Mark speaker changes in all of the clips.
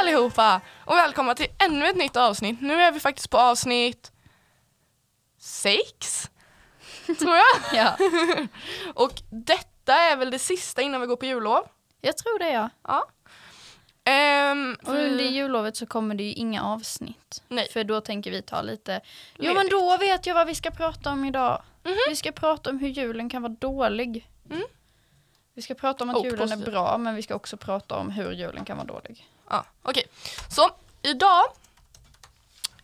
Speaker 1: allihopa och välkomna till ännu ett nytt avsnitt. Nu är vi faktiskt på avsnitt sex, tror jag.
Speaker 2: Ja,
Speaker 1: Och detta är väl det sista innan vi går på jullov.
Speaker 2: jag tror det ja.
Speaker 1: Ja. Ehm,
Speaker 2: Och under jullovet så kommer det ju inga avsnitt.
Speaker 1: Nej.
Speaker 2: För då tänker vi ta lite, jo
Speaker 1: Ledigt. Mhm.
Speaker 2: men då vet jag vad vi ska prata om idag. Vi ska prata om hur julen kan vara dålig.
Speaker 1: Mm.
Speaker 2: Vi ska prata om att
Speaker 1: Och
Speaker 2: julen är
Speaker 1: positiv.
Speaker 2: bra men vi ska också prata om hur julen kan vara dålig.
Speaker 1: Ja, okej. Så idag,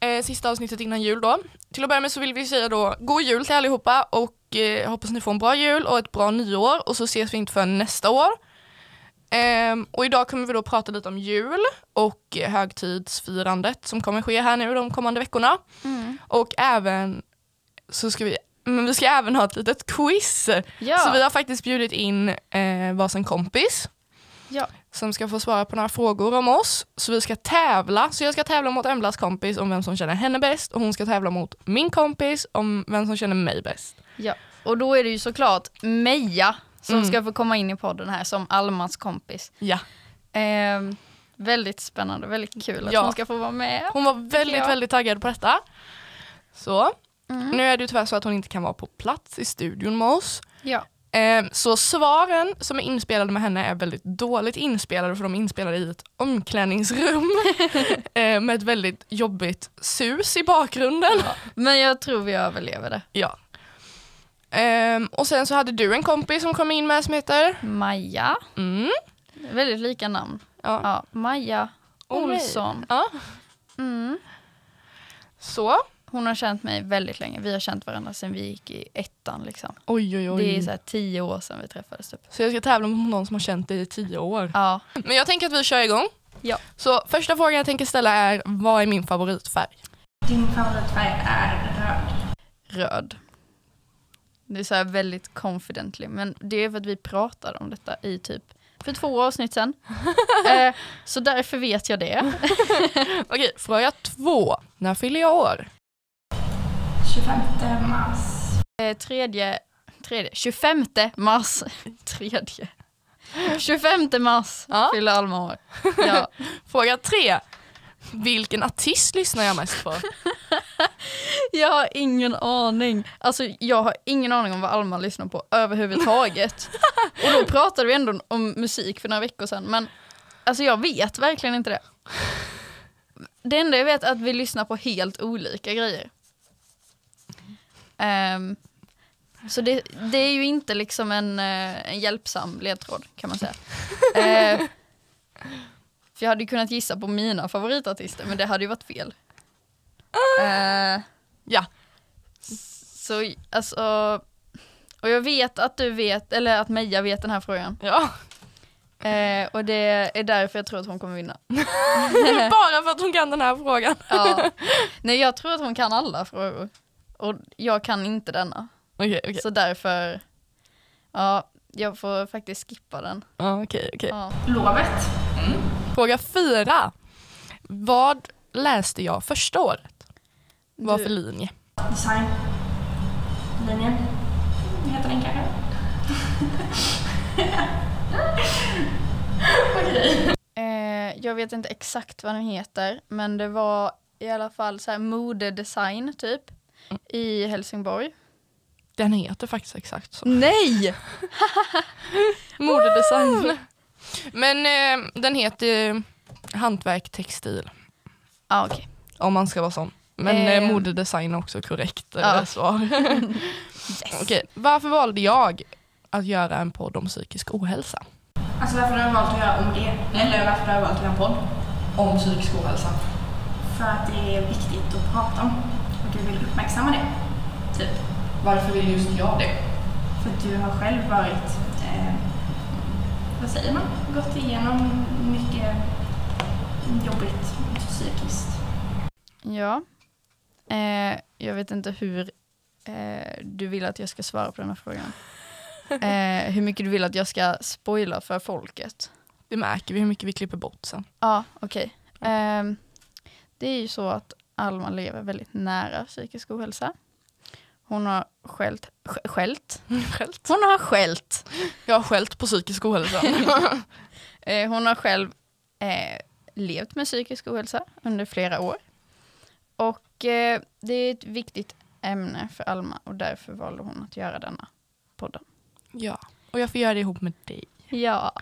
Speaker 1: eh, sista avsnittet innan jul då. Till att börja med så vill vi säga då god jul till allihopa och eh, hoppas ni får en bra jul och ett bra nyår och så ses vi inte förrän nästa år. Ehm, och idag kommer vi då prata lite om jul och eh, högtidsfirandet som kommer ske här nu de kommande veckorna. Och även så ska vi, men vi ska även ha ett litet quiz.
Speaker 2: Ja,
Speaker 1: Så vi har faktiskt bjudit in eh, varsin kompis
Speaker 2: ja.
Speaker 1: som ska få svara på några frågor om oss. Så vi ska tävla. Så jag ska tävla mot Emblas kompis om vem som känner henne bäst och hon ska tävla mot min kompis om vem som känner mig bäst.
Speaker 2: ja. Och då är det ju såklart Meja som
Speaker 1: Mm.
Speaker 2: ska få komma in i podden här som Almas kompis.
Speaker 1: Ja.
Speaker 2: Ehm, väldigt spännande, väldigt kul att
Speaker 1: Ja.
Speaker 2: hon ska få vara med.
Speaker 1: Hon var väldigt,
Speaker 2: Ja.
Speaker 1: väldigt taggad på detta. Så.
Speaker 2: Mm.
Speaker 1: Nu är det ju tyvärr så att hon inte kan vara på plats i studion med oss.
Speaker 2: Ja.
Speaker 1: Ehm, Så svaren som är inspelade med henne är väldigt dåligt inspelade för de är inspelade i ett omklädningsrum ehm, med ett väldigt jobbigt sus i bakgrunden.
Speaker 2: Men jag tror vi överlever det.
Speaker 1: Ja. Ehm, och sen så hade du en kompis som kom in med som heter?
Speaker 2: Maja,
Speaker 1: Mm.
Speaker 2: väldigt lika namn.
Speaker 1: Ja.
Speaker 2: Ja, Maja
Speaker 1: Och mig.
Speaker 2: Olsson.
Speaker 1: ja.
Speaker 2: Mm.
Speaker 1: Så.
Speaker 2: Hon har känt mig väldigt länge. Vi har känt varandra sedan vi gick i ettan. Liksom.
Speaker 1: Oj, oj, oj.
Speaker 2: Det är så här tio år sedan vi träffades. Typ.
Speaker 1: Så jag ska tävla mot någon som har känt dig i tio år.
Speaker 2: Ja.
Speaker 1: Men jag tänker att vi kör igång.
Speaker 2: Ja.
Speaker 1: Så första frågan jag tänker ställa är, vad är min favoritfärg?
Speaker 3: Din favoritfärg är röd.
Speaker 2: Röd. Det är så här väldigt confidently. Men det är för att vi pratade om detta i typ för två avsnitt sedan. eh, så därför vet jag det.
Speaker 1: Okej, fråga två. När fyller jag år?
Speaker 3: 25 mars.
Speaker 2: Eh, tredje, tredje, 25 mars. Tredje. 25 mars
Speaker 1: Ja.
Speaker 2: fyller Alma år. Ja.
Speaker 1: Fråga tre. Vilken artist lyssnar jag mest på?
Speaker 2: Jag har ingen aning. Alltså jag har ingen aning om vad Alma lyssnar på överhuvudtaget. Och då pratade vi ändå om musik för några veckor sedan. Men alltså jag vet verkligen inte det. Det enda jag vet är att vi lyssnar på helt olika grejer. Ehm, så det, det är ju inte liksom en, eh, en hjälpsam ledtråd kan man säga. Ehm, för jag hade ju kunnat gissa på mina favoritartister men det hade ju varit fel. Ehm,
Speaker 1: Ja.
Speaker 2: så alltså, och jag vet att du vet, eller att Meja vet den här frågan.
Speaker 1: Ja.
Speaker 2: Eh, och det är därför jag tror att hon kommer vinna.
Speaker 1: Bara för att hon kan den här frågan.
Speaker 2: Ja. Nej jag tror att hon kan alla frågor. Och jag kan inte denna.
Speaker 1: Okej, okej.
Speaker 2: Så därför, ja, jag får faktiskt skippa den.
Speaker 1: Ja, okej, okej.
Speaker 2: Ja.
Speaker 3: Lovet.
Speaker 1: Fråga fyra. Vad läste jag första året? Vad
Speaker 2: Du-
Speaker 1: för linje?
Speaker 3: Design. Linjen. Heter den kanske?
Speaker 2: Eh, jag vet inte exakt vad den heter, men det var i alla fall så här modedesign typ.
Speaker 1: Mm.
Speaker 2: I Helsingborg.
Speaker 1: Den heter faktiskt exakt
Speaker 2: Mm.
Speaker 1: så.
Speaker 2: Nej!
Speaker 1: Modedesign. Men eh, den heter eh, hantverk textil
Speaker 2: Ja okej.
Speaker 1: om man ska vara sån. Men
Speaker 2: Ehm.
Speaker 1: eh, modedesign är också korrekt eh,
Speaker 2: Ja.
Speaker 1: svar.
Speaker 2: Yes.
Speaker 1: Okej, Varför valde jag att göra en podd om psykisk ohälsa?
Speaker 3: Alltså varför har du valt att göra om det? Eller varför har du valt att göra en podd?
Speaker 1: Om psykisk ohälsa?
Speaker 3: För att det är viktigt att prata om. Och du vill uppmärksamma det. Typ.
Speaker 1: Varför vill just jag det?
Speaker 3: För att du har själv varit, eh, vad säger man, gått igenom mycket jobbigt psykiskt.
Speaker 2: Ja. Eh, jag vet inte hur eh, du vill att jag ska svara på den här frågan. Eh, hur mycket du vill att jag ska spoila för folket.
Speaker 1: Det märker vi hur mycket vi klipper bort sen.
Speaker 2: Ja, okej. Ehm, det är ju så att Alma lever väldigt nära psykisk ohälsa. Hon har skällt, sk- skällt?
Speaker 1: Skällt.
Speaker 2: Hon har skällt.
Speaker 1: Jag har skällt på psykisk ohälsa.
Speaker 2: Eh, hon har själv eh, levt med psykisk ohälsa under flera år. Och eh, det är ett viktigt ämne för Alma och därför valde hon att göra denna podden.
Speaker 1: Ja, och jag får göra det ihop med dig.
Speaker 2: Ja.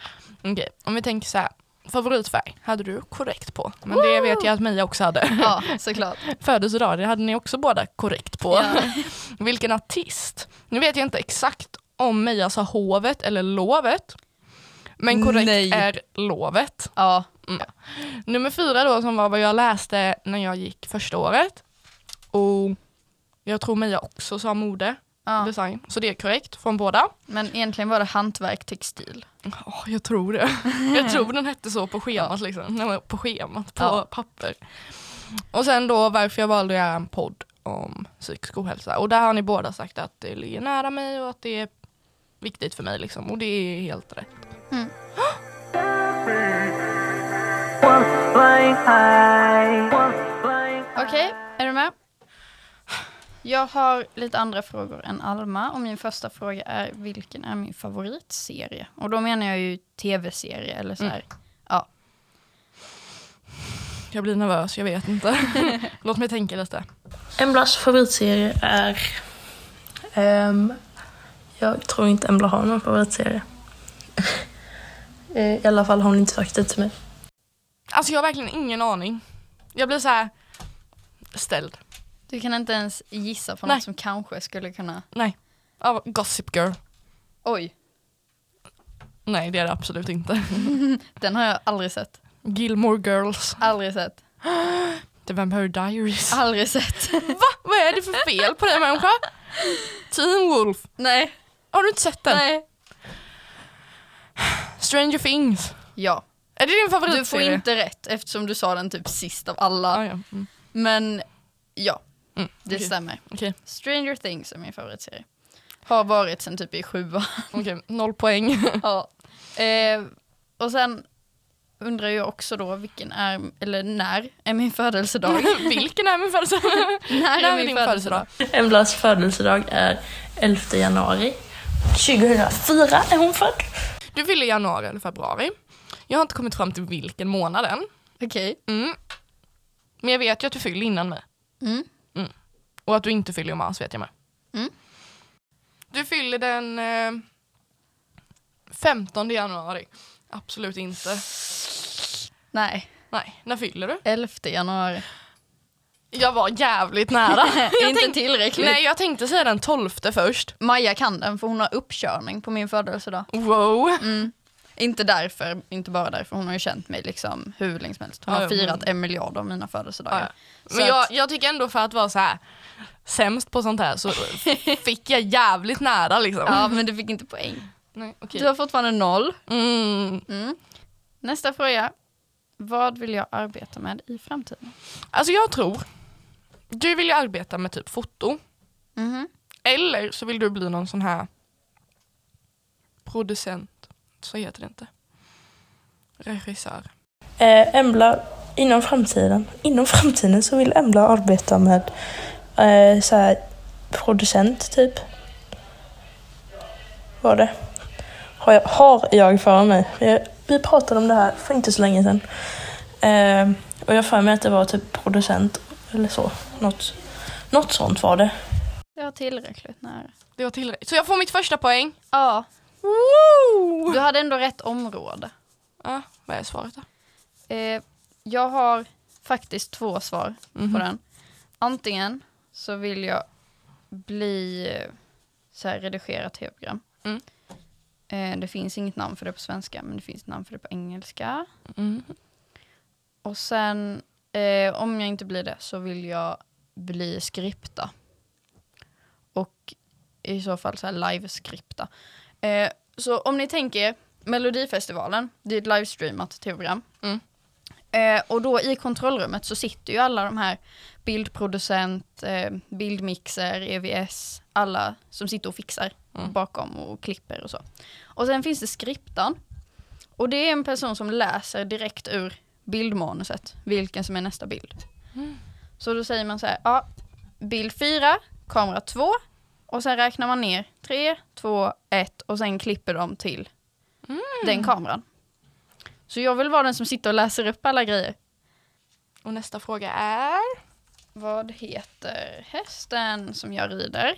Speaker 1: Okej, om vi tänker så här. Favoritfärg hade du korrekt på. Men det vet jag att Mia också hade.
Speaker 2: Ja, såklart.
Speaker 1: Födelsedag, det hade ni också båda korrekt på.
Speaker 2: Ja.
Speaker 1: Vilken artist? Nu vet jag inte exakt om Mia sa hovet eller lovet. Men korrekt
Speaker 2: Nej.
Speaker 1: är lovet.
Speaker 2: Ja.
Speaker 1: Nummer fyra då som var vad jag läste när jag gick första året. Och jag tror Mia också sa mode,
Speaker 2: ja.
Speaker 1: design. Så det är korrekt från båda.
Speaker 2: Men egentligen var det hantverk, textil.
Speaker 1: Ja, jag tror det. Jag tror den hette så på schemat. Liksom. Nej, men på schemat, på
Speaker 2: Ja.
Speaker 1: papper. Och sen då varför jag valde att göra en podd om psykisk ohälsa. Och där har ni båda sagt att det ligger nära mig och att det är viktigt för mig. Liksom. Och det är helt rätt.
Speaker 2: Okej, är du med? Jag har lite andra frågor än Alma och min första fråga är vilken är min favoritserie? Och då menar jag ju tv-serie eller så här. Ja.
Speaker 1: Jag blir nervös, jag vet inte. Låt mig tänka lite.
Speaker 4: Emblas favoritserie är... ehm, jag tror inte Embla har någon favoritserie. Eh, I alla fall har hon inte sagt det till mig.
Speaker 1: Alltså jag har verkligen ingen aning. Jag blir så här ställd.
Speaker 2: Du kan inte ens gissa på
Speaker 1: Nej.
Speaker 2: något som kanske skulle kunna...
Speaker 1: Nej. Av Gossip Girl.
Speaker 2: Oj,
Speaker 1: Nej det är det absolut inte.
Speaker 2: den har jag aldrig sett.
Speaker 1: Gilmore Girls.
Speaker 2: Aldrig sett.
Speaker 1: The Vampire Diaries.
Speaker 2: Aldrig sett.
Speaker 1: Va? Vad är det för fel på den människan? Teen Wolf.
Speaker 2: Nej.
Speaker 1: Har du inte sett den?
Speaker 2: Nej.
Speaker 1: Stranger Things.
Speaker 2: Ja.
Speaker 1: Är det din favoritserie?
Speaker 2: Du får inte rätt eftersom du sa den typ sist av alla.
Speaker 1: Ah, ja. mm.
Speaker 2: Men ja,
Speaker 1: Mm.
Speaker 2: det
Speaker 1: okej.
Speaker 2: stämmer.
Speaker 1: Okej,
Speaker 2: Stranger Things är min favoritserie. Har varit sen typ i sjua.
Speaker 1: okej. noll poäng.
Speaker 2: ja. eh, och sen undrar jag också då vilken är, eller när är min födelsedag?
Speaker 1: Vilken är min födelsedag?
Speaker 2: när
Speaker 1: När
Speaker 2: är
Speaker 1: är
Speaker 2: min
Speaker 1: din
Speaker 2: födelsedag?
Speaker 4: Emblas födelsedag är 11 januari. 2004 är hon född.
Speaker 1: Du ville i januari eller februari. Jag har inte kommit fram till vilken månad än.
Speaker 2: Okej.
Speaker 1: Mm. Men jag vet ju att du fyller innan mig.
Speaker 2: Mm.
Speaker 1: Och att du inte fyller i mars vet jag med.
Speaker 2: Mm.
Speaker 1: Du fyller den eh, 15 januari. Absolut inte.
Speaker 2: Nej,
Speaker 1: Nej, när fyller du?
Speaker 2: 11 januari.
Speaker 1: Jag var jävligt nära.
Speaker 2: Inte
Speaker 1: tänkte-
Speaker 2: tillräckligt.
Speaker 1: Nej, jag tänkte säga den 12 först.
Speaker 2: Maja kan den för hon har uppkörning på min födelsedag.
Speaker 1: Wow.
Speaker 2: Mm, Inte därför, inte bara därför, hon har ju känt mig liksom hur länge som helst. Hon
Speaker 1: Ja,
Speaker 2: har
Speaker 1: ja,
Speaker 2: firat
Speaker 1: men-
Speaker 2: en miljard av mina födelsedagar.
Speaker 1: Ja,
Speaker 2: Så
Speaker 1: Men jag,
Speaker 2: att-
Speaker 1: jag tycker ändå för att vara så här sämst på sånt här så fick jag jävligt nära liksom.
Speaker 2: ja, men du fick inte poäng.
Speaker 1: Nej, okej.
Speaker 2: Du har fortfarande noll.
Speaker 1: Mm.
Speaker 2: Nästa fråga. Vad vill jag arbeta med i framtiden?
Speaker 1: Alltså jag tror, du vill ju arbeta med typ foto.
Speaker 2: Mhm.
Speaker 1: Eller så vill du bli någon sån här producent. Så heter det inte. Regissör.
Speaker 4: Eh, Embla, inom framtiden, inom framtiden så vill Embla arbeta med eh, så här, producent typ. Var det? Har jag, har jag för mig. Vi, vi pratade om det här för inte så länge sedan. Eh, och jag har för mig att det var typ producent eller så. Något, något sånt var det.
Speaker 2: Jag har tillräckligt nära.
Speaker 1: Det var tillräckligt. Så jag får mitt första poäng.
Speaker 2: Ja,
Speaker 1: Woo!
Speaker 2: du hade ändå rätt område.
Speaker 1: Ja, vad är svaret då?
Speaker 2: Eh, jag har faktiskt två svar
Speaker 1: Mhm.
Speaker 2: på den. Antingen så vill jag bli eh, så här, redigera tv-program.
Speaker 1: Mm.
Speaker 2: Eh, det finns inget namn för det på svenska, men det finns ett namn för det på engelska.
Speaker 1: Mm.
Speaker 2: Och sen, eh, om jag inte blir det, så vill jag bli skripta. Och i så fall så här liveskripta. Eh, så om ni tänker, Melodifestivalen, det är ett livestreamat tv-program.
Speaker 1: Mm.
Speaker 2: Eh, och då i kontrollrummet så sitter ju alla de här bildproducent, eh, bildmixer, EVS, alla som sitter och fixar
Speaker 1: Mm.
Speaker 2: bakom och klipper och så. Och sen finns det skriptan. Och det är en person som läser direkt ur bildmanuset, vilken som är nästa bild. Så då säger man så här, ja, bild fyra, kamera två och sen räknar man ner tre, två, ett och sen klipper de till den kameran. Så jag vill vara den som sitter och läser upp alla grejer.
Speaker 1: Och nästa fråga är?
Speaker 2: Vad heter hästen som jag rider?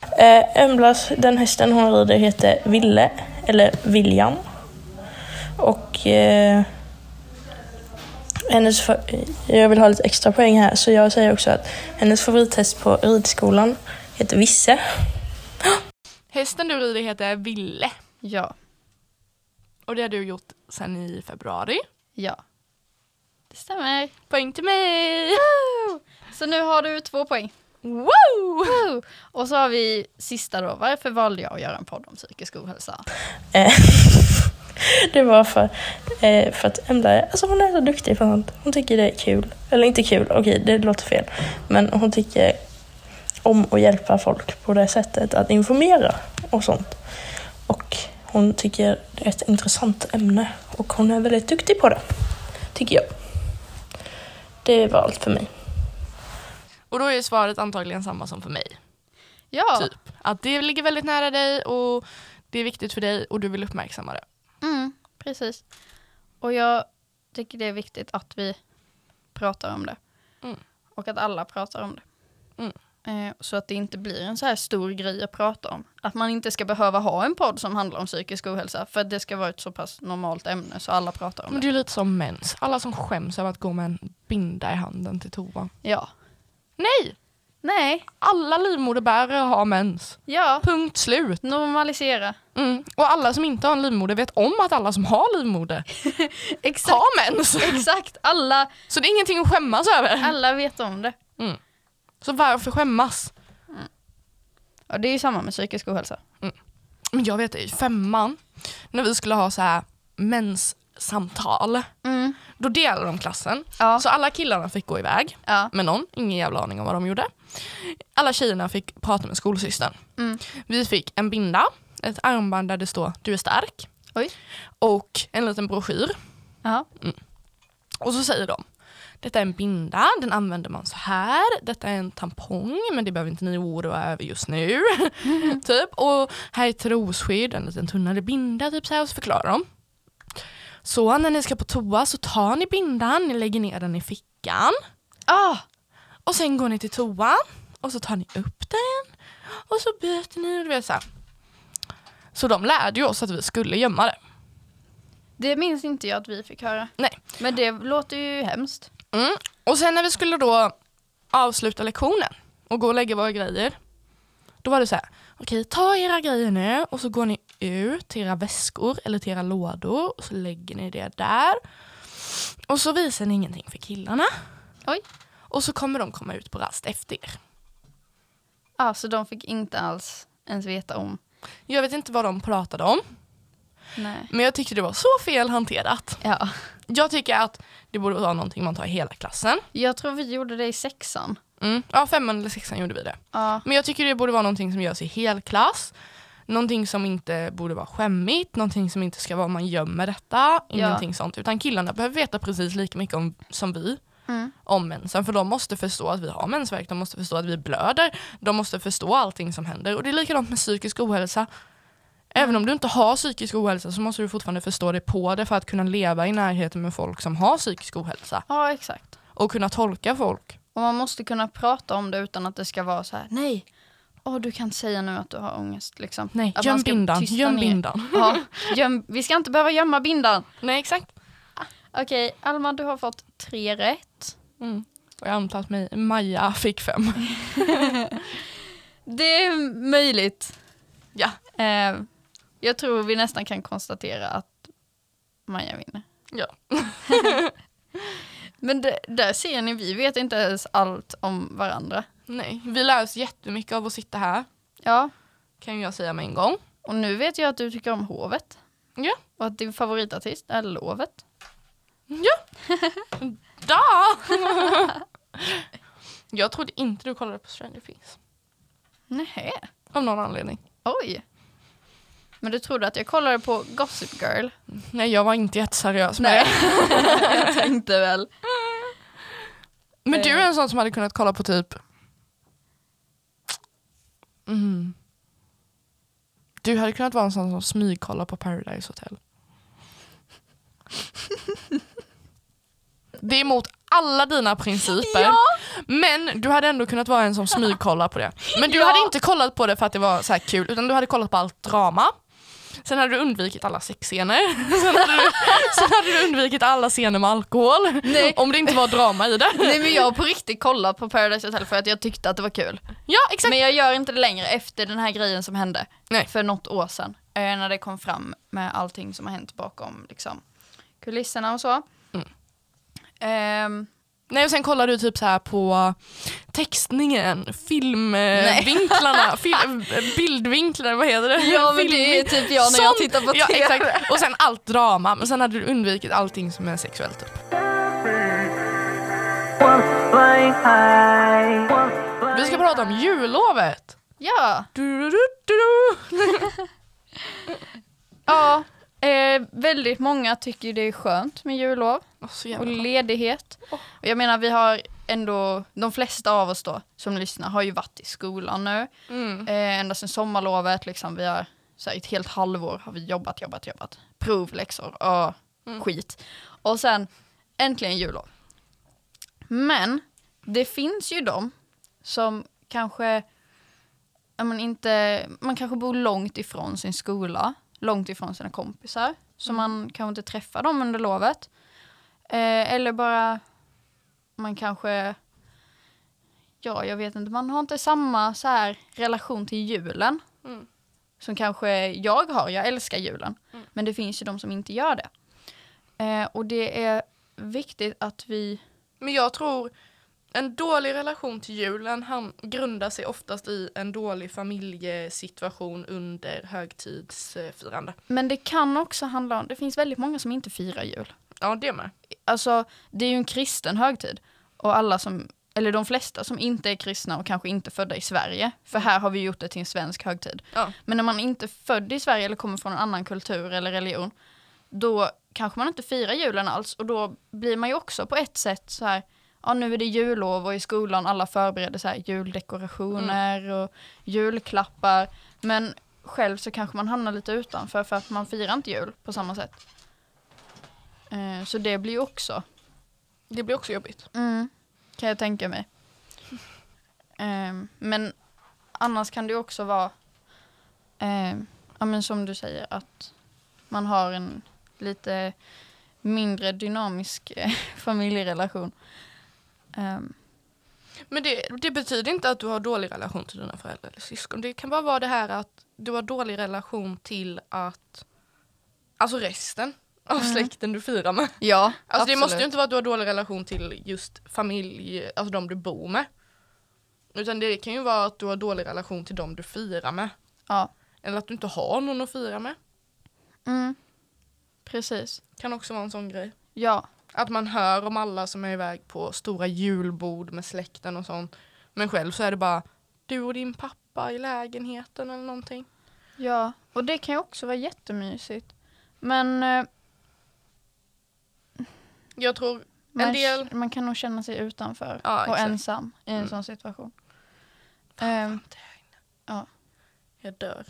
Speaker 4: Eh, Emblas, den hästen hon rider heter Ville, eller William. Och eh, hennes, fa- jag vill ha lite extra poäng här, så jag säger också att hennes favorithäst på ridskolan heter Visse.
Speaker 1: Hästen du rider heter Ville.
Speaker 2: Ja,
Speaker 1: Och det har du gjort sedan i februari.
Speaker 2: ja. Det stämmer.
Speaker 1: Poäng till mig!
Speaker 2: Så nu har du två poäng.
Speaker 1: Wow!
Speaker 2: Woo! Och så har vi sista då. Varför valde jag att göra en podd om psykisk ohälsa?
Speaker 4: Eh, det var för, eh, för att Embla är, alltså hon är så duktig på sånt. Hon tycker det är kul. Eller inte kul, okej det låter fel. Men hon tycker om att hjälpa folk på det sättet, att informera och sånt. Och hon tycker det är ett intressant ämne och hon är väldigt duktig på det, tycker jag. Det var allt för mig.
Speaker 1: Och då är svaret antagligen samma som för mig.
Speaker 2: Ja.
Speaker 1: Typ. Att det ligger väldigt nära dig och det är viktigt för dig och du vill uppmärksamma det.
Speaker 2: Mm, precis. Och jag tycker det är viktigt att vi pratar om det.
Speaker 1: Mm.
Speaker 2: Och att alla pratar om det.
Speaker 1: Mm.
Speaker 2: Eh, så att det inte blir en så här stor grej att prata om. Att man inte ska behöva ha en podd som handlar om psykisk ohälsa. För att det ska vara ett så pass normalt ämne så alla pratar om
Speaker 1: Men
Speaker 2: det.
Speaker 1: det är lite som mens. Alla som skäms över att gå med en binda i handen till toan.
Speaker 2: Ja.
Speaker 1: Nej!
Speaker 2: Nej,
Speaker 1: Alla livmoderbärare har mens.
Speaker 2: ja.
Speaker 1: Punkt slut.
Speaker 2: Normalisera.
Speaker 1: Mm. Och alla som inte har en livmoder vet om att alla som har livmoder
Speaker 2: Exakt,
Speaker 1: har mens.
Speaker 2: exakt. Alla,
Speaker 1: Så det är ingenting att skämmas över.
Speaker 2: alla vet om det.
Speaker 1: Så varför skämmas?
Speaker 2: Ja, det är ju samma med psykisk ohälsa.
Speaker 1: Men jag vet i femman, när vi skulle ha så här menssamtal,
Speaker 2: Mm.
Speaker 1: då delade de klassen.
Speaker 2: Ja.
Speaker 1: Så alla killarna fick gå iväg
Speaker 2: Ja.
Speaker 1: med någon, ingen jävla aning om vad de gjorde. Alla tjejerna fick prata med skolsystern.
Speaker 2: Mm.
Speaker 1: Vi fick en binda, ett armband där det står du är stark
Speaker 2: Oj.
Speaker 1: och en liten broschyr.
Speaker 2: Ja.
Speaker 1: Och så säger de detta är en binda, den använder man så här. Detta är en tampong, men det behöver inte ni oroa er över just nu. typ. Och här är ett trosskydd, en liten tunnare binda. Typ så här, och så förklarar de. Så när ni ska på toa så tar ni bindan, ni lägger ner den i fickan.
Speaker 2: Ah,
Speaker 1: Och sen går ni till toan och så tar ni upp den och så byter ni. och Du vet, så, här. så de lärde ju oss att vi skulle gömma det.
Speaker 2: det minns inte jag att vi fick höra.
Speaker 1: Nej.
Speaker 2: Men det låter ju hemskt.
Speaker 1: Mm. Och sen när vi skulle då avsluta lektionen och gå och lägga våra grejer. Då var det så här, okej ta era grejer nu och så går ni ut till era väskor eller till era lådor och så lägger ni det där. Och så visar ni ingenting för killarna.
Speaker 2: Oj.
Speaker 1: Och så kommer de komma ut på rast efter er.
Speaker 2: Ja, så de fick inte alls ens veta om.
Speaker 1: Jag vet inte vad de pratade om,
Speaker 2: Nej.
Speaker 1: men jag tyckte det var så fel hanterat.
Speaker 2: Ja.
Speaker 1: Jag tycker att det borde vara någonting man tar i hela klassen.
Speaker 2: Jag tror vi gjorde det i sexan.
Speaker 1: Mm. Ja, femman eller sexan gjorde vi det.
Speaker 2: Ja.
Speaker 1: Men jag tycker det borde vara någonting som görs i helklass. Någonting som inte borde vara skämmigt, någonting som inte ska vara man gömmer detta, ingenting sånt. Utan killarna behöver veta precis lika mycket om, som vi
Speaker 2: Mm.
Speaker 1: om mensen. För de måste förstå att vi har mensvärk, de måste förstå att vi blöder, de måste förstå allting som händer. Och det är likadant med psykisk ohälsa. Även om du inte har psykisk ohälsa så måste du fortfarande förstå det på det för att kunna leva i närheten med folk som har psykisk ohälsa.
Speaker 2: ja, exakt.
Speaker 1: Och kunna tolka folk.
Speaker 2: Och man måste kunna prata om det utan att det ska vara så här, nej, åh du kan inte säga nu att du har ångest. Liksom.
Speaker 1: Nej,
Speaker 2: att man
Speaker 1: göm
Speaker 2: ska
Speaker 1: bindan,
Speaker 2: tysta
Speaker 1: göm
Speaker 2: ner.
Speaker 1: bindan.
Speaker 2: Ja, göm, vi ska inte behöva gömma bindan.
Speaker 1: Nej exakt.
Speaker 2: Okej, Alma du har fått tre rätt.
Speaker 1: Mm. Och jag antar att mig, Maja fick fem.
Speaker 2: Det är möjligt.
Speaker 1: Ja.
Speaker 2: Eh, jag tror vi nästan kan konstatera att Maja vinner.
Speaker 1: ja.
Speaker 2: Men det, där ser ni, vi vet inte ens allt om varandra.
Speaker 1: Nej, vi lär oss jättemycket av att sitta här.
Speaker 2: Ja,
Speaker 1: Kan jag säga med en gång.
Speaker 2: och nu vet jag att du tycker om Hovet.
Speaker 1: Ja.
Speaker 2: Och att din favoritartist är Lovet.
Speaker 1: Da! jag trodde inte du kollade på Stranger Things.
Speaker 2: Nej.
Speaker 1: Av någon anledning.
Speaker 2: oj. Men du trodde att jag kollade på Gossip Girl?
Speaker 1: Nej, jag var inte jätteseriös med det.
Speaker 2: jag tänkte väl.
Speaker 1: Men
Speaker 2: Eh.
Speaker 1: du är en sån som hade kunnat kolla på typ... Mm. Du hade kunnat vara en sån som smygkollar på Paradise Hotel. Det är emot alla dina principer.
Speaker 2: Ja.
Speaker 1: Men du hade ändå kunnat vara en som smygkollar på det. Men du
Speaker 2: Ja.
Speaker 1: hade inte kollat på det för att det var så här kul, utan du hade kollat på allt drama. Sen hade du undvikit alla sexscener. Sen hade du, sen hade du undvikit alla scener med alkohol.
Speaker 2: Nej.
Speaker 1: Om det inte var drama i det.
Speaker 2: Nej men jag har på riktigt kollat på Paradise Hotel för att jag tyckte att det var kul.
Speaker 1: Ja, exakt.
Speaker 2: Men jag gör inte det längre efter den här grejen som hände
Speaker 1: Nej.
Speaker 2: för något år sedan. eh, När det kom fram med allting som har hänt bakom liksom, kulisserna och så. Ehm,
Speaker 1: Nej, och sen kollar du typ så här på textningen, filmvinklarna, fil- bildvinklar, vad heter det?
Speaker 2: ja men det är
Speaker 1: Filmvink-
Speaker 2: typ jag när jag
Speaker 1: Sånt-
Speaker 2: tittar på
Speaker 1: ja,
Speaker 2: TV.
Speaker 1: exakt. Och sen allt drama, men sen hade du undvikit allting som är sexuellt. Typ. Vi ska prata om jullovet.
Speaker 2: Ja,
Speaker 1: Du, du, du, du.
Speaker 2: ja eh, väldigt många tycker ju det är skönt med jullov.
Speaker 1: Åh, så
Speaker 2: och
Speaker 1: jävla skönt.
Speaker 2: ledighet. Och jag menar vi har ändå, de flesta av oss då som lyssnar har ju varit i skolan nu.
Speaker 1: Mm.
Speaker 2: Eh, ända sedan sommarlovet liksom, vi har så här, ett helt halvår har vi jobbat, jobbat, jobbat. Provläxor och
Speaker 1: Mm.
Speaker 2: skit. Och sen äntligen jullov. Men det finns ju de som kanske ja, men inte, man kanske bor långt ifrån sin skola, långt ifrån sina kompisar. Så
Speaker 1: Mm.
Speaker 2: man kanske inte träffar dem under lovet. Eh, eller bara, man kanske, ja jag vet inte, man har inte samma så här relation till julen.
Speaker 1: Mm.
Speaker 2: Som kanske jag har, jag älskar julen. Men det finns ju de som inte gör det. Eh, och det är viktigt att vi,
Speaker 1: Men jag tror en dålig relation till julen han grundar sig oftast i en dålig familjesituation under högtidsfirande.
Speaker 2: men det kan också handla om, det finns väldigt många som inte firar jul.
Speaker 1: Ja, det med.
Speaker 2: alltså det är ju en kristen högtid. Och alla som, eller de flesta som inte är kristna och kanske inte födda i Sverige, för här har vi gjort det till en svensk högtid.
Speaker 1: Ja.
Speaker 2: Men när man inte är född i Sverige eller kommer från en annan kultur eller religion, då kanske man inte firar julen alls och då blir man ju också på ett sätt så här, ja nu är det jullov och i skolan alla förbereder så här juldekorationer och julklappar. Men själv så kanske man hamnar lite utanför för att man firar inte jul på samma sätt. Eh, Så det blir ju också
Speaker 1: Det blir också jobbigt.
Speaker 2: Mm, kan jag tänka mig. Ehm, men annars kan det ju också vara, ehm, ja, men som du säger, att man har en lite mindre dynamisk eh, familjerelation. Ehm,
Speaker 1: Men det, det betyder inte att du har dålig relation till dina föräldrar eller syskon. Det kan bara vara det här att du har dålig relation till att alltså resten av släkten du firar med.
Speaker 2: ja,
Speaker 1: Alltså det måste ju
Speaker 2: absolut.
Speaker 1: inte vara att du har dålig relation till just familj, alltså de du bor med. Utan det kan ju vara att du har dålig relation till de du firar med.
Speaker 2: Ja,
Speaker 1: Eller att du inte har någon att fira med.
Speaker 2: mm, precis.
Speaker 1: Kan också vara en sån grej.
Speaker 2: Ja,
Speaker 1: Att man hör om alla som är iväg på stora julbord med släkten och sånt. Men själv så är det bara du och din pappa i lägenheten eller någonting.
Speaker 2: ja, och det kan ju också vara jättemysigt. Men eh,
Speaker 1: Jag tror
Speaker 2: man,
Speaker 1: en del...
Speaker 2: man kan nog känna sig utanför
Speaker 1: Ja,
Speaker 2: och
Speaker 1: exakt.
Speaker 2: ensam i en
Speaker 1: Mm.
Speaker 2: sån situation.
Speaker 1: Fan,
Speaker 2: Ehm,
Speaker 1: vad det är inne.
Speaker 2: ja.
Speaker 1: Jag dör.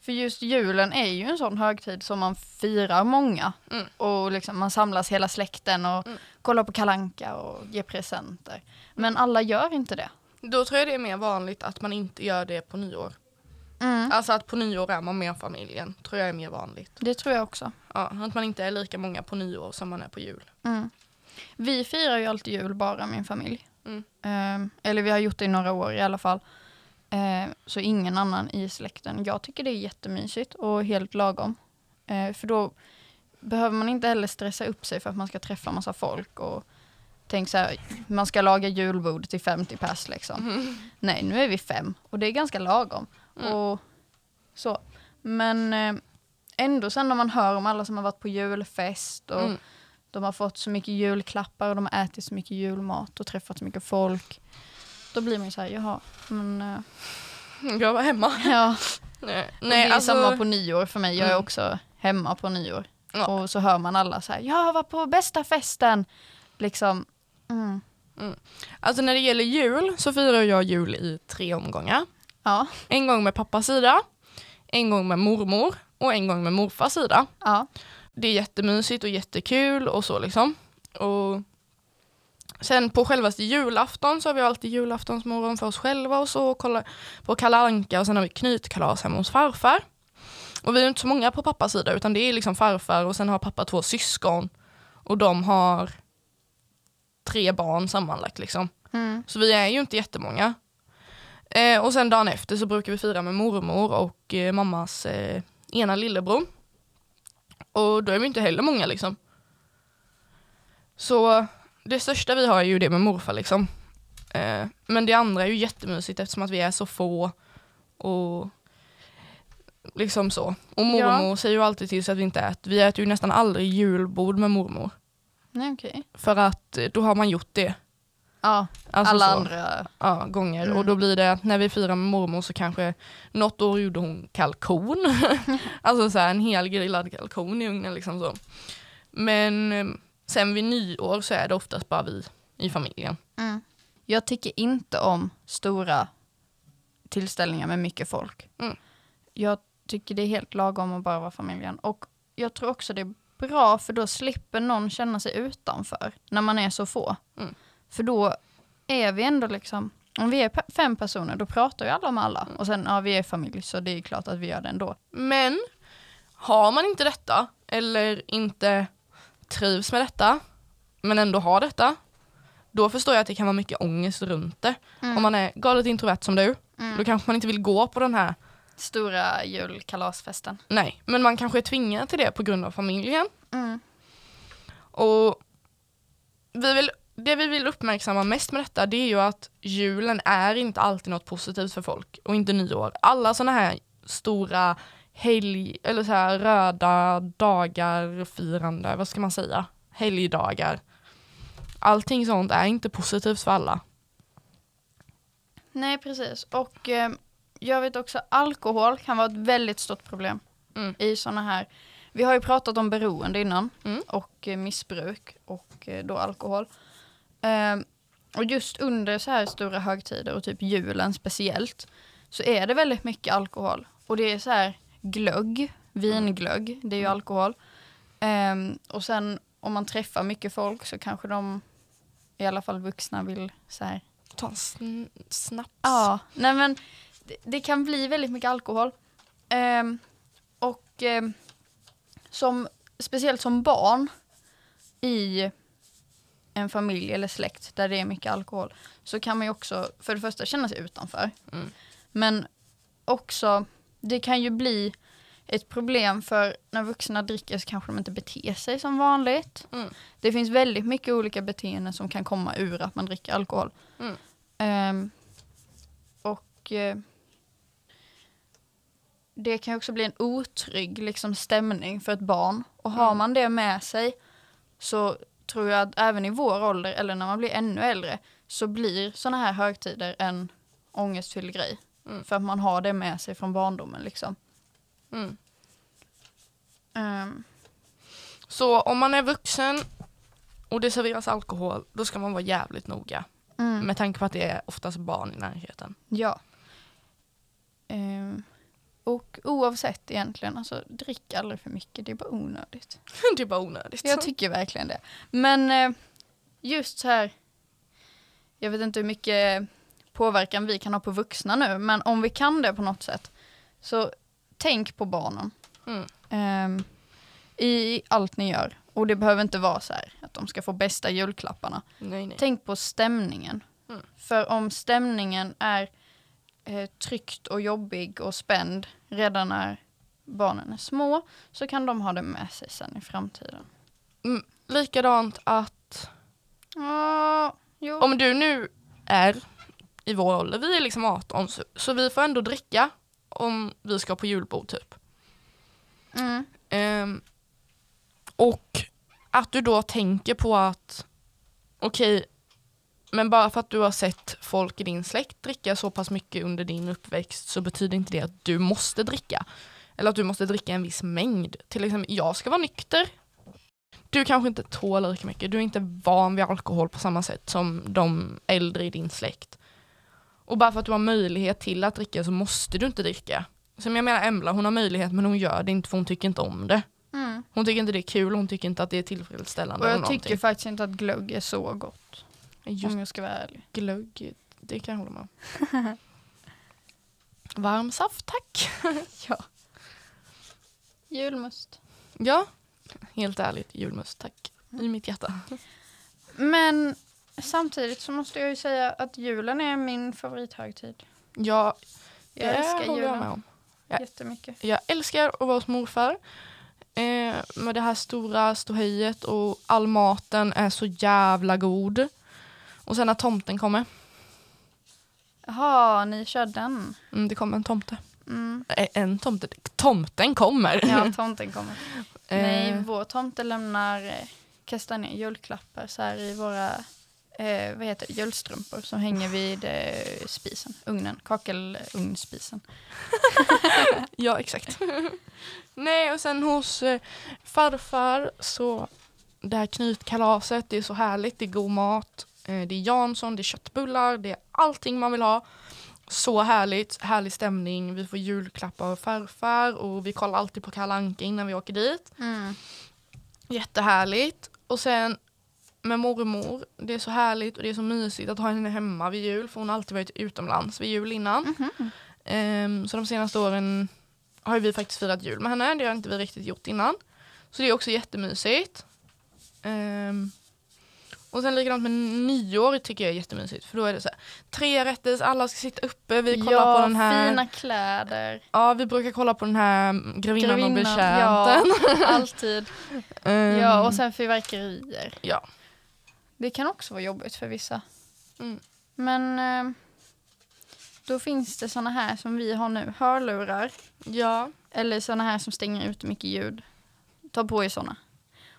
Speaker 2: För just julen är ju en sån högtid som man firar många.
Speaker 1: Mm.
Speaker 2: Och liksom man samlas hela släkten och
Speaker 1: Mm.
Speaker 2: kollar på kalanka och ger presenter. Men alla gör inte det.
Speaker 1: Då tror jag det är mer vanligt att man inte gör det på nyår. Alltså att på nyår är man med familjen. Tror jag är mer vanligt.
Speaker 2: Det tror jag också.
Speaker 1: Ja, att man inte är lika många på nyår som man är på jul.
Speaker 2: Mm. Vi firar ju alltid jul bara min familj.
Speaker 1: Mm.
Speaker 2: Ehm, eller vi har gjort det i några år i alla fall. Ehm, så ingen annan i släkten. Jag tycker det är jättemysigt och helt lagom. Ehm, för då behöver man inte heller stressa upp sig för att man ska träffa massa folk. Och tänk så här, man ska laga julbord till 50 pers liksom.
Speaker 1: Mm.
Speaker 2: Nej, nu är vi fem och det är ganska lagom. Och så. Men eh, ändå sen när man hör om alla som har varit på julfest och
Speaker 1: Mm.
Speaker 2: de har fått så mycket julklappar och de har ätit så mycket julmat och träffat så mycket folk. Då blir man ju så här, jaha, men eh,
Speaker 1: Jag var hemma.
Speaker 2: ja.
Speaker 1: Nej,
Speaker 2: Och det är
Speaker 1: nej alltså...
Speaker 2: samma på nyår för mig, jag är
Speaker 1: Mm.
Speaker 2: också hemma på nyår.
Speaker 1: Ja.
Speaker 2: Och så hör man alla så här, jag var på bästa festen. Liksom, mm,
Speaker 1: Alltså när det gäller jul så firar jag jul i tre omgångar.
Speaker 2: ja,
Speaker 1: En gång med pappas sida, en gång med mormor och en gång med morfars sida.
Speaker 2: ja,
Speaker 1: det är jättemysigt och jättekul och så liksom. Och sen på självaste julafton så har vi alltid julaftonsmorgon för oss själva och så och kollar på Kalle Anka och sen har vi knytkalas hemma hos farfar. Och vi är inte så många på pappas sida utan det är liksom farfar och sen har pappa två syskon och de har tre barn sammanlagt liksom.
Speaker 2: Mm.
Speaker 1: Så vi är ju inte jättemånga. Eh, och sen dagen efter så brukar vi fira med mormor och eh, mammas eh, ena lillebror. Och då är vi inte heller många liksom. Så det största vi har är ju det med morfar liksom. Eh, men det andra är ju jättemysigt eftersom att vi är så få och liksom så. Och mormor säger ju alltid till så att vi inte äter. Vi äter ju nästan aldrig julbord med mormor.
Speaker 2: Nej, okej.
Speaker 1: För att eh, då har man gjort det.
Speaker 2: Ja,
Speaker 1: Alltså
Speaker 2: alla
Speaker 1: så
Speaker 2: andra.
Speaker 1: ja, gånger och då blir det att när vi firar med mormor så kanske något år gjorde hon kalkon. alltså så här, en hel grillad kalkon i ugnen liksom så. Men eh, sen vid nyår så är det oftast bara vi i familjen.
Speaker 2: Jag tycker inte om stora tillställningar med mycket folk.
Speaker 1: Mm.
Speaker 2: Jag tycker det är helt lagom att bara vara familjen. Och jag tror också det är bra för då slipper någon känna sig utanför när man är så få.
Speaker 1: Mm.
Speaker 2: För då är vi ändå liksom, om vi är pe- fem personer då pratar ju alla med alla.
Speaker 1: Mm.
Speaker 2: Och sen, ja vi är familj så det är klart att vi gör det ändå.
Speaker 1: Men har man inte detta eller inte trivs med detta men ändå har detta då förstår jag att det kan vara mycket ångest runt det. Om man är galet introvert som du då kanske man inte vill gå på den här
Speaker 2: Stora julkalasfesten.
Speaker 1: Nej, men man kanske är tvingad till det på grund av familjen.
Speaker 2: Mm.
Speaker 1: Och vi vill, det vi vill uppmärksamma mest med detta det är ju att julen är inte alltid något positivt för folk och inte nyår. Alla sådana här stora helg eller så här röda dagar firande, vad ska man säga? Helgdagar. Allting sånt är inte positivt för alla.
Speaker 2: Nej, precis. Och eh, jag vet också alkohol kan vara ett väldigt stort problem
Speaker 1: Mm.
Speaker 2: i sådana här. Vi har ju pratat om beroende innan
Speaker 1: Mm.
Speaker 2: och eh, missbruk och eh, då alkohol. Eh, och just under så här stora högtider och typ julen speciellt så är det väldigt mycket alkohol. Och det är så här glögg, vinglögg, det är ju
Speaker 1: Mm.
Speaker 2: alkohol. Eh, och sen om man träffar mycket folk så kanske de, i alla fall vuxna, vill så här
Speaker 1: Ta en sn- snaps.
Speaker 2: Ja, nej men det, det kan bli väldigt mycket alkohol. Ehm, och ehm, som, speciellt som barn i en familj eller släkt där det är mycket alkohol så kan man ju också för det första känna sig utanför.
Speaker 1: Mm.
Speaker 2: Men också, det kan ju bli ett problem för när vuxna dricker så kanske de inte beter sig som vanligt.
Speaker 1: Mm.
Speaker 2: Det finns väldigt mycket olika beteenden som kan komma ur att man dricker alkohol.
Speaker 1: Mm.
Speaker 2: Ehm, och eh, det kan ju också bli en otrygg liksom, stämning för ett barn. Och har man det med sig så tror jag att även i vår ålder eller när man blir ännu äldre så blir sådana här högtider en ångestfylld grej.
Speaker 1: Mm.
Speaker 2: För att man har det med sig från barndomen liksom.
Speaker 1: Mm.
Speaker 2: Ehm,
Speaker 1: Så om man är vuxen och det serveras alkohol, då ska man vara jävligt noga.
Speaker 2: mm.
Speaker 1: Med tanke på att det är oftast barn i närheten.
Speaker 2: Ja. Ehm, och oavsett egentligen, alltså drick aldrig för mycket, det är bara onödigt.
Speaker 1: Det är bara onödigt.
Speaker 2: Jag tycker verkligen det. Men eh, just så här, jag vet inte hur mycket påverkan vi kan ha på vuxna nu, men om vi kan det på något sätt, så tänk på barnen.
Speaker 1: Mm.
Speaker 2: Ehm, I allt ni gör. Och det behöver inte vara så här att de ska få bästa julklapparna.
Speaker 1: nej, nej.
Speaker 2: Tänk på stämningen.
Speaker 1: Mm.
Speaker 2: För om stämningen är eh, tryckt och jobbig och spänd redan när barnen är små så kan de ha det med sig sen i framtiden.
Speaker 1: Mm, likadant att
Speaker 2: Ja, jo.
Speaker 1: om du nu är i vår ålder, vi är liksom 18, så, så vi får ändå dricka om vi ska på julbord typ.
Speaker 2: Mm.
Speaker 1: Ehm, och att du då tänker på att okej, men bara för att du har sett folk i din släkt dricka så pass mycket under din uppväxt så betyder inte det att du måste dricka. Eller att du måste dricka en viss mängd. Till exempel, jag ska vara nykter. Du kanske inte tål lika mycket, du är inte van vid alkohol på samma sätt som de äldre i din släkt. Och bara för att du har möjlighet till att dricka så måste du inte dricka. Som jag menar Embla, hon har möjlighet men hon gör det inte för hon tycker inte om det.
Speaker 2: Mm. Mm.
Speaker 1: Hon tycker inte det är kul, hon tycker inte att det är tillfredsställande.
Speaker 2: Och jag
Speaker 1: eller någonting.
Speaker 2: tycker Mm. faktiskt inte att glögg är så gott.
Speaker 1: Just
Speaker 2: Om jag ska vara ärlig.
Speaker 1: glögg, det kan jag hålla med om. Varm saft, tack.
Speaker 2: Ja. Julmust.
Speaker 1: Ja, helt ärligt, julmust, tack. I mitt hjärta.
Speaker 2: Men samtidigt så måste jag ju säga att julen är min favorithögtid.
Speaker 1: Ja, det
Speaker 2: Jag
Speaker 1: håller
Speaker 2: älskar
Speaker 1: jag med
Speaker 2: julen
Speaker 1: om. Ja.
Speaker 2: jättemycket.
Speaker 1: Jag älskar att vara hos morfar. Eh, med det här stora ståhejet och all maten är så jävla god. Och sen när tomten kommer.
Speaker 2: Jaha, ni kör den.
Speaker 1: Mm, det kommer en tomte.
Speaker 2: Mm.
Speaker 1: Eh, en tomte. Tomten kommer!
Speaker 2: Ja, tomten kommer.
Speaker 1: Eh,
Speaker 2: Nej, vår tomte lämnar, eh, kastar ner julklappar så här i våra eh, vad heter det, julstrumpor som hänger vid eh, spisen, ugnen, kakelugnsspisen.
Speaker 1: Ja, exakt. Nej, och sen hos eh, farfar så det här knytkalaset, det är så härligt, det är god mat, eh, det är Jansson, det är köttbullar, det är allting man vill ha. Så härligt, härlig stämning, vi får julklappar av farfar och vi kollar alltid på Kalle Anka innan vi åker dit.
Speaker 2: Mm.
Speaker 1: Jättehärligt. Och sen med mormor, det är så härligt och det är så mysigt att ha henne hemma vid jul för hon har alltid varit utomlands vid jul innan.
Speaker 2: Mhm.
Speaker 1: Ehm, så de senaste åren har ju vi faktiskt firat jul med henne. Det har inte vi riktigt gjort innan. Så det är också jättemysigt. Ehm, och sen likadant med nyår tycker jag är jättemysigt. För då är det så här, tre rätter, alla ska sitta uppe. Vi kollar
Speaker 2: ja,
Speaker 1: på den här.
Speaker 2: fina kläder.
Speaker 1: Ja, vi brukar kolla på den här mm, Grevinnan, och
Speaker 2: ja,
Speaker 1: betjänten.
Speaker 2: alltid.
Speaker 1: Ehm,
Speaker 2: Ja, och sen fyrverkerier.
Speaker 1: ja.
Speaker 2: Det kan också vara jobbigt för vissa.
Speaker 1: Mm.
Speaker 2: Men eh, då finns det såna här som vi har nu, hörlurar.
Speaker 1: ja.
Speaker 2: Eller såna här som stänger ut mycket ljud. Ta på er såna.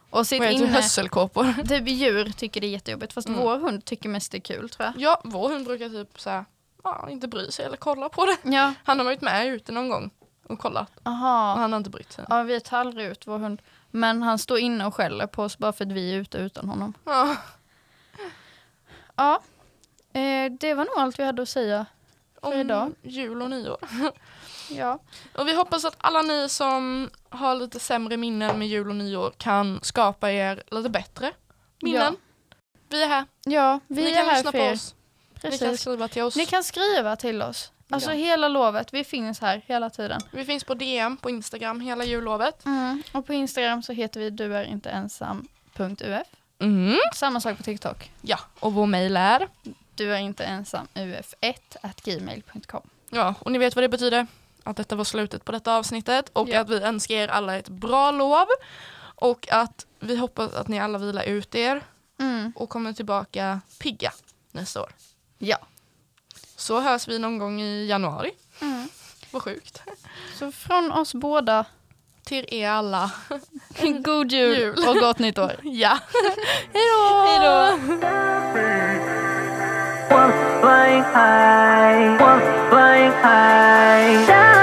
Speaker 2: Och sitt
Speaker 1: Vad heter det?
Speaker 2: inne.
Speaker 1: Hösselkåpor.
Speaker 2: Typ djur tycker det är jättejobbigt. Fast
Speaker 1: Mm.
Speaker 2: vår hund tycker mest det är kul tror jag.
Speaker 1: Ja, vår hund brukar typ så här, ja, inte bry sig eller kolla på det.
Speaker 2: Ja,
Speaker 1: Han har varit med ute någon gång och kollat och
Speaker 2: aha.
Speaker 1: han har inte brytt sig.
Speaker 2: Ja, vi tar aldrig ut vår hund. Men han står inne och skäller på oss bara för att vi är ute utan honom.
Speaker 1: Ja.
Speaker 2: Ja, eh, det var nog allt vi hade att säga.
Speaker 1: Om
Speaker 2: idag.
Speaker 1: jul och nyår.
Speaker 2: Ja.
Speaker 1: Och vi hoppas att alla ni som har lite sämre minnen med jul och nyår kan skapa er lite bättre minnen. Vi är här.
Speaker 2: Ja, vi
Speaker 1: ni
Speaker 2: är
Speaker 1: kan
Speaker 2: här
Speaker 1: lyssna
Speaker 2: för
Speaker 1: på
Speaker 2: er.
Speaker 1: oss.
Speaker 2: Precis.
Speaker 1: Ni kan skriva till oss.
Speaker 2: Ni kan skriva till oss. Alltså
Speaker 1: Ja.
Speaker 2: hela lovet, vi finns här hela tiden.
Speaker 1: Vi finns på DM på Instagram hela jullovet.
Speaker 2: Och på Instagram så heter vi du är inte ensam.uf. Mm. Samma sak på TikTok.
Speaker 1: Ja, och vår mejl är.
Speaker 2: Du är inte ensam uf1 at gmail.com.
Speaker 1: Ja, och ni vet vad det betyder. Att detta var slutet på detta avsnittet och
Speaker 2: Ja.
Speaker 1: att vi önskar er alla ett bra lov. Och att vi hoppas att ni alla vilar ut er
Speaker 2: Mm.
Speaker 1: och kommer tillbaka pigga nästa år.
Speaker 2: Ja.
Speaker 1: Så hörs vi någon gång i januari. Vad sjukt.
Speaker 2: Så från oss båda,
Speaker 1: Till er alla.
Speaker 2: god jul,
Speaker 1: Jul.
Speaker 2: och gott nytt år.
Speaker 1: Ja.
Speaker 2: Hej då!
Speaker 5: flying high, one flying high.